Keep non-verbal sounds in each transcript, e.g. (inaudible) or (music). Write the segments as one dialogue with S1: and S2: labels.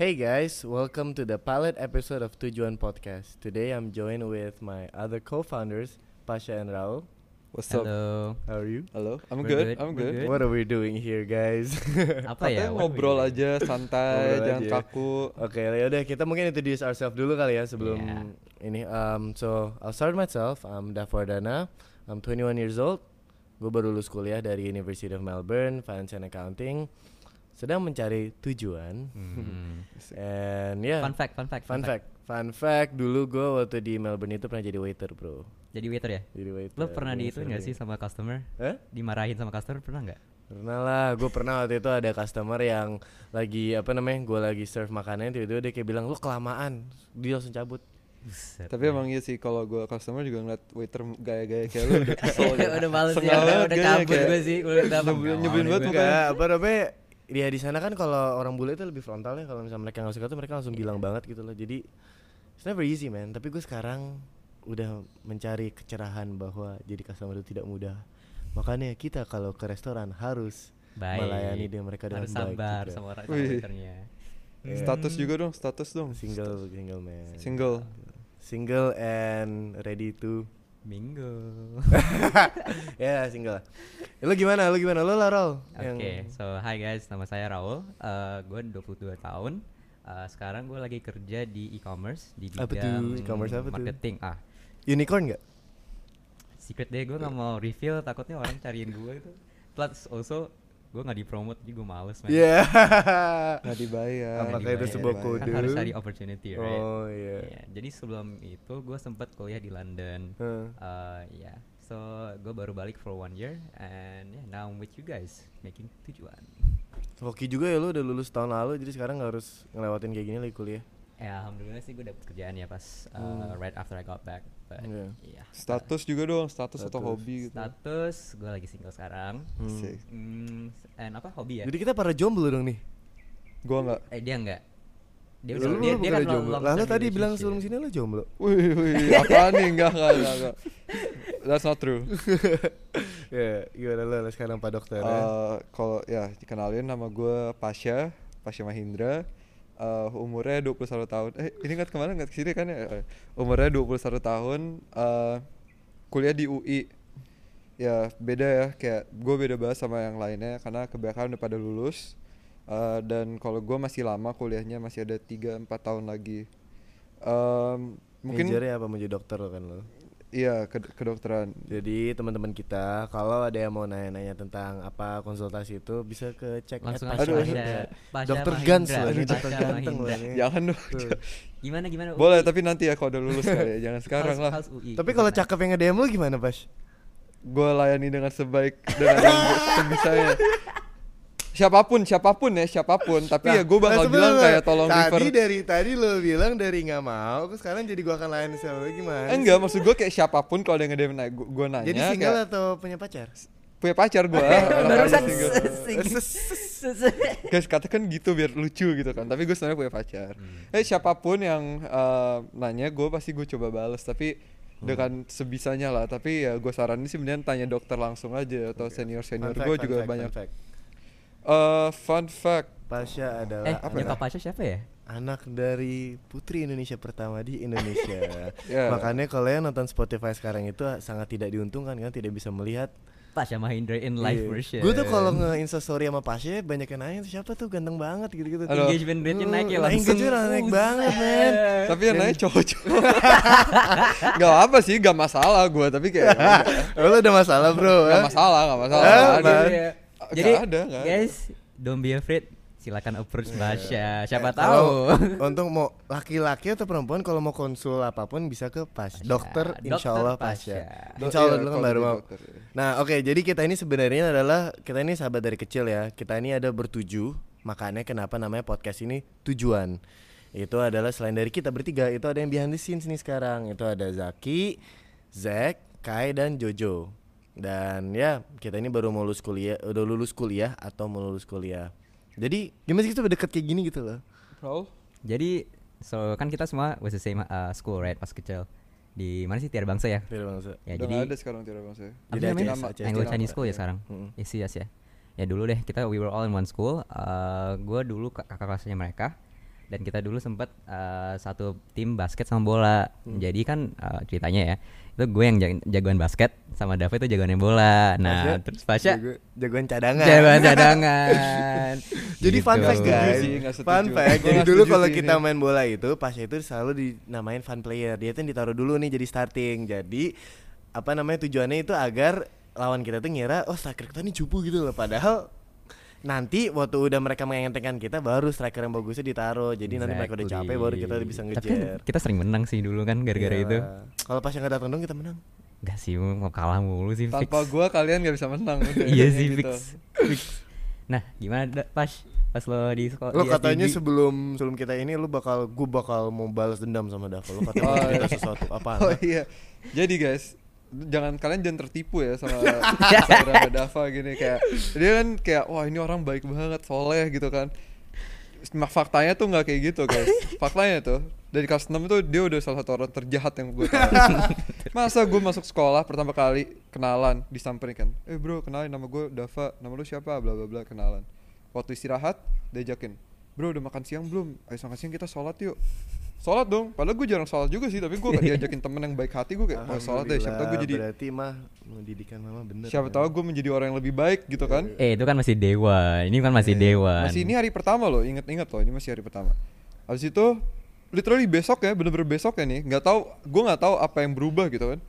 S1: Hey guys, welcome to the pilot episode of Tujuan Podcast. Today I'm joined with my other co-founders, Pasha and Raul.
S2: What's up?
S3: Hello.
S1: How are you?
S2: Halo, I'm
S3: We're
S2: good.
S3: good,
S2: I'm
S3: we're
S2: good.
S3: good.
S1: What are we doing here, guys? (laughs)
S3: Apa
S2: Katanya
S3: ya? What
S2: ngobrol
S3: we doing?
S2: aja, santai,
S1: Ngobrol
S2: jangan
S1: aja.
S2: kaku.
S1: okay, ya udah kita mungkin introduce ourselves dulu kali ya sebelum
S3: Yeah.
S1: ini. Um, so I'll start myself. I'm Davardana. I'm 21 years old. Gue baru lulus kuliah dari University of Melbourne, Finance and Accounting. Sedang mencari tujuan.
S3: Hmm.
S1: And yeah.
S3: Fun fact, fun fact,
S1: Fun fact. Fun fact, dulu gue waktu di Melbourne itu pernah jadi waiter, bro.
S3: Jadi waiter ya?
S1: Jadi waiter.
S2: Iya,
S3: Lo pernah
S1: jadi
S3: diituin nggak sih
S1: serving.
S3: sama customer?
S1: Hah?
S3: Dimarahin sama customer pernah nggak?
S1: Pernah lah, gue pernah waktu itu ada customer yang lagi apa namanya, gue lagi serve makanannya tiba-tiba dia kayak bilang lu kelamaan, dia langsung cabut.
S3: Buset,
S2: Tapi
S3: men.
S2: emang iya sih kalau gue customer juga ngeliat waiter gaya-gaya kayak lu udah kesel
S3: (laughs)
S2: gitu.
S3: udah males sih,
S2: Sengal
S3: udah,
S2: banget
S3: udah
S2: gayanya,
S3: cabut
S2: kayak
S3: gue sih, udah udah apa?
S2: nyebelin-
S3: Nggak
S2: nyebelin
S3: mau
S2: banget
S3: nih
S2: mukanya.
S1: Enggak, apa namanya? Ya di sana kan kalau orang bule itu lebih frontal ya, kalau misalnya mereka nggak suka tuh mereka langsung bilang banget gitu loh. Jadi it's never easy man, tapi gue sekarang udah mencari kecerahan bahwa jadi customer itu tidak mudah. Makanya kita kalau ke restoran harus
S3: gue. Baik.
S1: melayani dia mereka dengan
S3: Harus
S1: baik
S3: sabar
S1: juga.
S3: sama orang sama
S2: Wih.
S3: waiternya.
S2: Status juga dong, status dong.
S1: single single man.
S2: Single.
S1: Single and ready to (laughs)
S3: Bingo.
S1: ya single. Lo gimana? Lo gimana? Lo Larol
S3: Oke, so hi guys, nama saya Raul. Eh gue 22 tahun. Eh sekarang gue lagi kerja di e-commerce di bidang
S1: Apa tuh? E-commerce apa tuh?
S3: marketing. Ah,
S1: unicorn gak?
S3: secret deh gue nggak mau reveal takutnya orang cariin gue itu plus also gue nggak dipromot jadi gue males man (laughs)
S1: Iya.
S2: Nggak dibayar.
S3: Nggak
S1: Apakah itu
S3: dibayar.
S1: sebuah
S2: Nggak
S1: kode?
S3: kan harus cari opportunity right
S1: Oh iya.
S3: Iya, jadi sebelum itu gue sempat kuliah di London
S1: Heeh.
S3: Eh, ya so gue baru balik for one year and yeah, now I'm with you guys making tujuan
S1: Hoki juga ya lo udah lulus tahun lalu jadi sekarang nggak harus ngelewatin kayak gini lagi kuliah.
S3: ya alhamdulillah sih gue dapet kerjaan ya pas eh, right after I got back but
S1: Hmm. Iya.
S3: yeah.
S2: Status juga dong, status, atau
S1: Status.
S2: hobi gitu.
S3: status gue lagi single sekarang
S2: Asik.
S3: Hmm, and apa hobi ya
S1: Jadi kita para jomblo dong nih.
S2: Gua nggak.
S3: Eh dia enggak. Dia
S1: Lu- lu bukan
S3: kan
S1: jomblo.
S3: long- long
S1: Lalu
S3: term
S1: tadi bilang
S3: relationship.
S1: sebelum sini lo jomblo.
S2: Wih, wih, apa nih? Enggak, enggak, enggak, enggak. That's not true.
S1: Ya, gimana lo Lo sekarang Pak Dokter? ya?
S2: Eh, kalau ya dikenalin nama gue Pasha, Pasha Mahindra. Eh umurnya 21 tahun. Eh, ini kan kemana nggak kesini kan ya? Eh, Umurnya 21 tahun. eh kuliah di UI. Ya beda ya. Kayak gue beda banget sama yang lainnya karena kebanyakan udah pada lulus. Eh, dan kalau gue masih lama kuliahnya masih ada 3-4 tahun lagi. Em, mungkin
S1: Majornya apa menjadi dokter lo kan lo?
S2: iya ke kedokteran.
S1: Jadi teman-teman kita kalau ada yang mau nanya-nanya tentang apa konsultasi itu bisa ke cek
S3: Langsung
S1: at Pasha.
S3: aja Pasha. Pasha
S1: Dokter
S3: Mahindra.
S1: Gans loh, ini
S3: Pasha
S1: dokter ganteng loh.
S3: Mahindra.
S1: ini.
S2: (laughs) Jangan dong.
S1: Tuh.
S3: Gimana gimana?
S2: Boleh
S3: UI?
S2: tapi nanti ya kalau udah lulus kali ya. Jangan sekarang
S3: Harus-
S2: lah.
S3: harus UI.
S1: Tapi kalau
S3: Gimana?
S1: cakep yang nge-DM lu gimana, Bas?
S2: gue layani dengan sebaik dengan
S1: (laughs)
S2: yang gue- sebisanya siapapun siapapun ya siapapun tapi
S1: Nah,
S2: ya gue bakal bilang kayak tolong
S1: tadi
S2: refer
S1: dari tadi lu bilang dari nggak mau, terus sekarang jadi gua akan lain sama lu gimana?
S2: Eh, enggak maksud gue kayak siapapun kalau ada yang ngedemen gue gue nanya
S1: Jadi single
S2: kayak,
S1: atau punya pacar?
S2: punya pacar
S1: (laughs)
S2: gue
S1: Eh,
S2: (laughs)
S3: Barusan
S2: single (laughs)
S3: single.
S2: guys katakan gitu biar lucu gitu kan tapi gue sebenarnya punya pacar eh siapapun yang eh, nanya gue pasti gue coba bales tapi dengan sebisanya lah tapi ya gue saranin sih mendingan tanya dokter langsung aja atau senior senior
S1: Fun
S2: gue
S1: fact,
S2: juga
S1: fun fact,
S2: banyak
S1: fun fact.
S2: Eh, fun fact
S1: Pasha adalah
S2: (laughs)
S3: Eh,
S1: anak-
S3: nyokap Pasha siapa ya?
S1: anak dari putri Indonesia pertama di Indonesia.
S2: Ya.
S1: Makanya kalau yang nonton Spotify sekarang itu sangat tidak diuntungkan kan tidak bisa melihat
S3: Pasha Mahindra in live version.
S1: Gue Iya. tuh kalau
S3: (laughs)
S1: nge instastory sama Pasha banyak yang nanya siapa tuh ganteng banget gitu-gitu.
S2: Aduh.
S3: engagement rate-nya naik ya
S1: Nah,
S3: langsung.
S1: engagement rate naik banget, men.
S2: tapi
S3: Iya,
S2: yang naik cowok-cowok (laughs) gak apa sih gak masalah gue tapi
S3: (laughs)
S2: kayak
S1: Oh, Lo ada masalah bro?
S2: gak
S1: ah?
S2: masalah gak masalah
S1: Eh,
S2: gak ada. ya.
S1: Bang.
S3: Jadi,
S2: Nggak
S3: Jadi
S2: ada, nggak ada.
S3: guys, don't be afraid. Silakan approach
S1: Iya.
S3: Pasha. Siapa
S1: Kalau
S3: tahu.
S1: Untuk mau laki-laki atau perempuan kalau mau konsul apapun bisa ke Pasha. Dokter,
S3: Dokter
S1: Insya Allah
S3: Pasha.
S1: Pasha.
S2: Do-
S1: Insya Allah
S2: iya,
S1: dulu kan
S2: kalau
S1: baru
S2: jadi
S1: mau.
S2: dokter, iya.
S1: Nah oke jadi kita ini sebenarnya adalah kita ini sahabat dari kecil ya. Kita ini ada bertuju. Makanya kenapa namanya podcast ini tujuan. Itu adalah selain dari kita bertiga itu ada yang behind the scenes nih sekarang. Itu ada Zaki, Zack, Kai dan Jojo. Dan ya kita ini baru mau lulus kuliah, udah lulus kuliah atau mau lulus kuliah. Jadi gimana sih kita deket kayak gini gitu loh?
S2: Raul
S3: (laughs) Ya, Jadi so kan kita semua was the same uh, school right pas kecil. Di mana sih Tiara Bangsa ya?
S1: Biar bangsa.
S3: Ya
S2: udah
S3: jadi
S2: gak ada sekarang tidak ya. bang saya
S3: apa
S1: Jadi
S3: sih namanya?
S1: Aceh, Aceh,
S3: Anglo
S1: Aceh.
S3: Chinese school ya sekarang.
S1: Mm-mm.
S3: Yes, yes ya. Ya dulu deh kita we were all in one school. Eh, gua dulu kak- kakak kelasnya mereka. dan kita dulu sempat eh, satu tim basket sama bola
S1: Mm.
S3: jadi kan eh, ceritanya ya itu gue yang jag- jagoan basket sama David itu jagoan yang bola
S1: Pasha,
S3: nah terus Pasha
S1: jago- jagoan cadangan.
S3: jagoan cadangan
S1: (laughs) Jadi fun
S3: Gitu.
S1: fact
S2: Nggak setuju
S1: guys,
S2: Iya sih, nggak
S1: fun
S2: setuju.
S1: fact.
S2: Gua
S1: Jadi
S2: nggak
S1: dulu
S2: setuju
S1: kalau
S2: sih
S1: kita
S2: ini.
S1: main bola itu, pas itu selalu dinamain fun player. Dia tuh yang ditaruh dulu nih jadi starting. Jadi apa namanya tujuannya itu agar lawan kita tuh ngira oh striker kita nih cupu gitu loh. Padahal nanti waktu udah mereka mengentengkan kita baru striker yang bagusnya ditaruh. Jadi nanti mereka udah capek baru kita
S3: Exactly.
S1: bisa
S3: Tapi kan
S1: ngejar. Iya.
S3: kita sering menang sih dulu kan gara-gara itu.
S1: Iyalah. Kalau pas yang nggak datang dong kita menang.
S3: Gak sih mau kalah mulu sih fix.
S2: Tanpa gua kalian gak bisa
S3: (laughs)
S2: menang. udah, kayak
S3: iya sih
S2: gitu.
S3: fix. fix. Nah, gimana Da- pas pas lo di
S2: Oh,
S3: sekolah
S1: Lo
S2: iya,
S3: di
S1: katanya
S3: SDG?
S1: sebelum sebelum kita ini lu bakal gue bakal mau balas dendam sama Dava. Lu katanya
S2: (laughs) Oh,
S1: mau cerita
S2: iya.
S1: sesuatu apa?
S2: Oh iya. Jadi guys, jangan kalian jangan tertipu ya
S3: (laughs)
S2: sama saudara Dava gini kayak dia kan kayak wah ini orang baik banget soleh gitu kan. Mak- Faktanya tuh nggak kayak gitu
S1: (laughs)
S2: guys. Faktanya tuh dari kelas 6 tuh dia udah salah satu orang terjahat yang gue tahu.
S1: (laughs)
S2: Masa gue masuk sekolah pertama kali kenalan disamperin kan, eh bro kenalin nama gue Dava, nama lu siapa, bla bla bla kenalan. Waktu istirahat diajakin, bro udah makan siang belum? Ayo makan siang kita sholat yuk. Sholat dong, padahal gue jarang sholat juga sih, tapi gue diajakin temen yang baik hati gue kayak, oh sholat deh, siapa tau gue jadi,
S1: berarti mah mendidikan mama bener
S2: siapa
S1: ya.
S2: tau gue menjadi orang yang lebih baik gitu kan.
S3: Eh, itu kan masih dewa. Ini kan masih dewa.
S2: Iya. Masih ini hari pertama loh, inget-inget loh, ini masih hari pertama. Habis itu literally besok ya, bener-bener besok ya nih, nggak tahu, gue nggak tahu apa yang berubah gitu kan.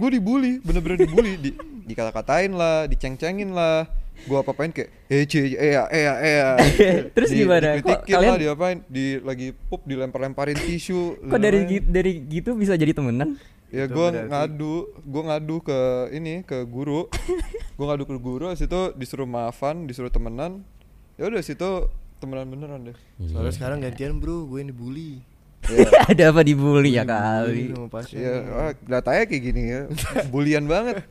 S2: Gue dibully, bener-bener dibully, di, dikata-katain lah, diceng-cengin lah. Gue apa-apain kayak eh cie eh ya eh ya eh ya.
S3: (laughs) Terus gimana? Kok
S2: Dikritikin
S3: kalian-
S2: lah, diapain? Di lagi pup dilempar-lemparin tisu.
S3: Kok dari
S2: lain-lain.
S3: gi- dari gitu bisa jadi temenan?
S2: Ya
S1: Itu
S2: gue
S1: berarti-
S2: ngadu, gue ngadu ke ini ke
S1: (laughs)
S2: guru. gue ngadu ke guru, habis itu disuruh maafan, disuruh temenan. Ya udah situ temenan beneran deh.
S3: Iya.
S1: soalnya sekarang gantian bro gue yang dibully
S2: Iya.
S3: (laughs) Ada apa dibully ya kali?
S1: Sama Pasha.
S2: Ya, wah, datanya kayak gini
S1: (laughs)
S2: ya. Bulian banget.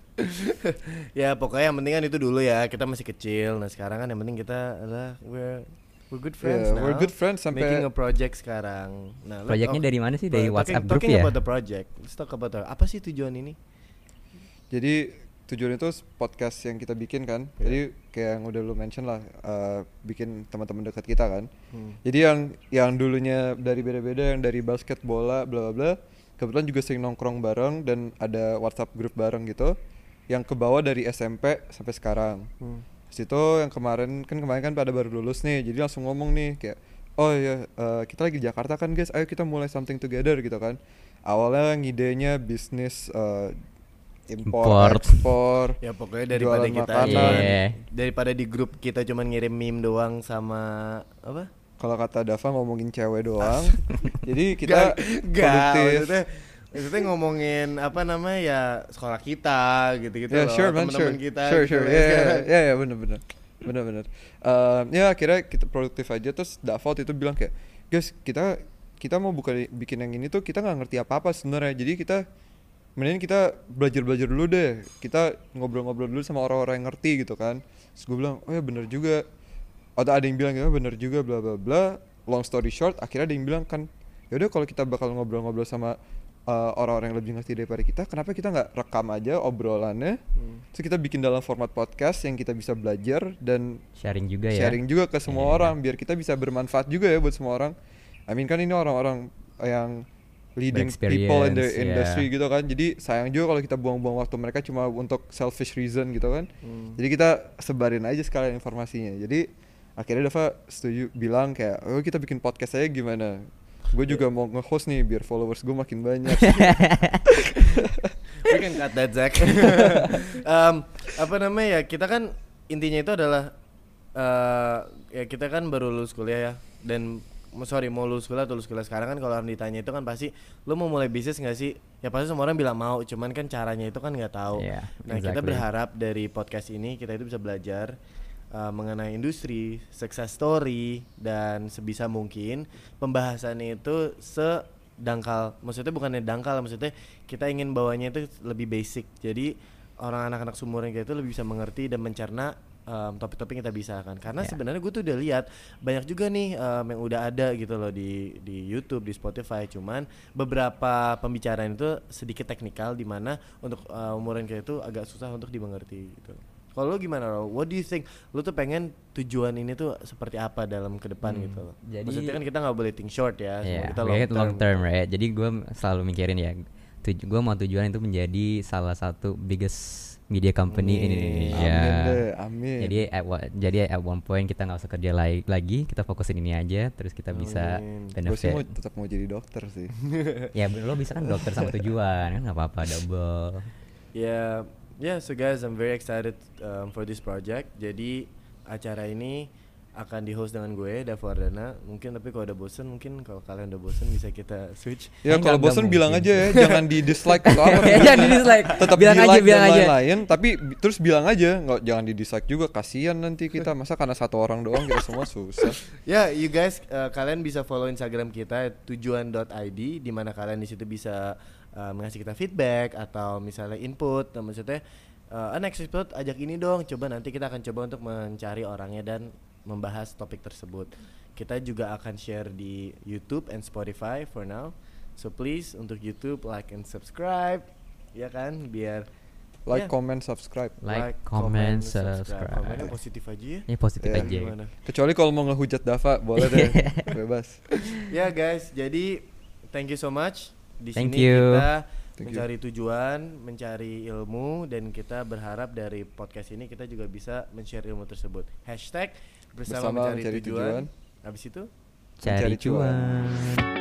S1: ya pokoknya yang penting kan itu dulu ya kita masih kecil nah sekarang kan yang penting kita adalah we're we're good friends
S2: Yeah, we're
S1: now.
S2: good friends sampai-
S1: making a project sekarang nah lu
S3: Projectnya
S1: talk-
S3: dari mana sih?
S1: talking-
S3: Dari WhatsApp group
S1: talking
S3: ya?
S1: about the project let's talk about the- apa sih tujuan ini
S2: Jadi tujuan itu podcast yang kita bikin kan. Jadi kayak yang udah lu mention lah eh, bikin teman-teman dekat kita kan. Jadi yang yang dulunya dari beda-beda yang dari basket bola bla bla bla kebetulan juga sering nongkrong bareng dan ada WhatsApp grup bareng gitu yang kebawa dari SMP sampai sekarang. Habis itu yang kemarin kan kemarin kan pada baru lulus nih. Jadi langsung ngomong nih kayak oh ya kita lagi di Jakarta kan guys, ayo kita mulai something together gitu kan. Awalnya ngidenya bisnis eh, impor,
S3: Import.
S2: ekspor,
S1: ya pokoknya daripada
S2: jualan
S1: kita
S2: makanan.
S3: Iya.
S1: daripada di grup kita cuman ngirim meme doang sama apa
S2: Kalau kata Dava ngomongin cewek
S1: (laughs)
S2: doang. jadi kita
S1: gak
S2: produktif.
S1: maksudnya, maksudnya ngomongin apa namanya ya sekolah kita gitu-gitu
S2: Ya,
S1: gitu loh
S2: sure man, sure.
S1: teman-teman kita
S2: sure,
S1: gitu
S2: sure.
S1: loh.
S2: Ya, ya,
S1: Sekarang-
S2: ya, ya, bener, bener. Bener, bener. Um, ya akhirnya kita produktif aja terus Davot itu bilang kayak, guys kita kita mau buka bikin yang ini tuh kita nggak ngerti apa apa sebenarnya. Jadi kita mending kita belajar belajar dulu deh. Kita ngobrol-ngobrol dulu sama orang-orang yang ngerti gitu kan. Terus gue bilang, oh ya bener juga. Atau ada yang bilang gitu, bener juga, bla bla bla. Long story short, akhirnya ada yang bilang kan, yaudah kalau kita bakal ngobrol-ngobrol sama uh, orang-orang yang lebih ngerti daripada kita kenapa kita nggak rekam aja obrolannya
S1: Hmm.
S2: terus kita bikin dalam format podcast yang kita bisa belajar dan
S3: Sharing juga ya.
S2: sharing juga ke semua orang biar kita bisa bermanfaat juga ya buat semua orang I mean kan ini orang-orang yang leading people in the
S3: Berexperience,
S2: industry
S3: ya.
S2: gitu kan jadi sayang juga kalau kita buang-buang waktu mereka cuma untuk selfish reason gitu kan jadi kita sebarin aja sekalian informasinya jadi akhirnya Dava setuju bilang kayak oh kita bikin podcast aja gimana gue juga mau nge-host nih biar followers gue makin banyak
S1: we can cut that Zack Em, apa namanya ya kita kan intinya itu adalah eh ya kita kan baru lulus kuliah ya dan mo- sorry mau lulus kuliah atau lulus kuliah sekarang kan kalau orang ditanya itu kan pasti lu mau mulai bisnis nggak sih ya pasti semua orang bilang mau cuman kan caranya itu kan nggak tahu
S3: Yeah,
S1: nah kita
S3: exactly.
S1: berharap dari podcast ini kita itu bisa belajar eh, mengenai industri success story dan sebisa mungkin pembahasannya itu se dangkal maksudnya bukannya dangkal maksudnya kita ingin bawanya itu lebih basic jadi orang anak-anak seumuran kita itu lebih bisa mengerti dan mencerna um, topik-topik yang kita bisa kan karena
S3: Iya.
S1: sebenarnya gue tuh udah lihat banyak juga nih um, yang udah ada gitu loh di di YouTube di Spotify cuman beberapa eh, pembicaraan itu sedikit teknikal di mana untuk uh, umuran kita itu agak susah untuk dimengerti gitu Kalau lu gimana Ro? What do you think? Lu tuh pengen tujuan ini tuh seperti apa dalam ke depan gitu loh.
S3: Hmm, jadi-
S1: Maksudnya kan kita nggak boleh think short ya. semua
S3: Iya,
S1: kita gitu.
S3: long term, long term right? Jadi gue selalu mikirin ya, tuju gue mau tujuan itu menjadi salah satu biggest media company in
S1: Amin.
S3: Indonesia.
S2: Amin deh, amin.
S3: Jadi at one, jadi at one point kita nggak usah kerja lai- lagi, kita fokusin ini aja, terus kita bisa
S1: Amin.
S2: Gue sih mau
S3: benefit.
S2: tetap mau jadi dokter sih.
S3: ya lo bisa kan dokter sama tujuan kan nggak apa-apa double.
S1: Ya, ya so guys, I'm very excited um, for this project. Jadi acara ini akan di-host dengan gue, Davardana. Mungkin tapi kalau udah bosen, mungkin kalau kalian udah bosen bisa kita switch.
S2: Ya kalau
S3: Enggak, enggak
S2: bosen bilang
S3: mungkin.
S2: aja ya, jangan di dislike atau apa.
S3: (laughs) Ya, jangan di-dislike.
S2: Tetap
S3: Bilang
S2: di
S3: aja,
S2: like
S3: bilang
S2: dan
S3: aja.
S2: lain-lain. Tapi bi- terus bilang aja, nggak jangan di dislike juga. Kasihan nanti kita masa karena satu orang doang kita semua susah.
S1: Ya, you guys, eh, kalian bisa follow Instagram kita tujuan.id di mana kalian di situ bisa eh, mengasih kita feedback atau misalnya input, Nah, maksudnya eh, "Ah, next episode ajak ini dong. Coba nanti kita akan coba untuk mencari orangnya dan membahas topik tersebut. Kita juga akan share di YouTube and Spotify for now. So please untuk YouTube like and subscribe, ya kan, biar
S2: Like,
S1: ya,
S2: comment, subscribe.
S3: Like, comment, subscribe.
S1: Komennya positif aja ya.
S3: Ini positif
S2: Iya,
S3: aja.
S1: gimana?
S2: Kecuali kalau mau ngehujat Dava, boleh deh, bebas.
S1: ya guys, jadi thank you so much. Di
S3: Thank
S1: sini
S3: you.
S1: kita
S2: Thank you.
S1: mencari tujuan, mencari ilmu, dan kita berharap dari podcast ini kita juga bisa men-share ilmu tersebut. Hashtag bersama, mencari, tujuan. Habis itu
S3: Cari
S2: Mencari cuan.
S3: cuan.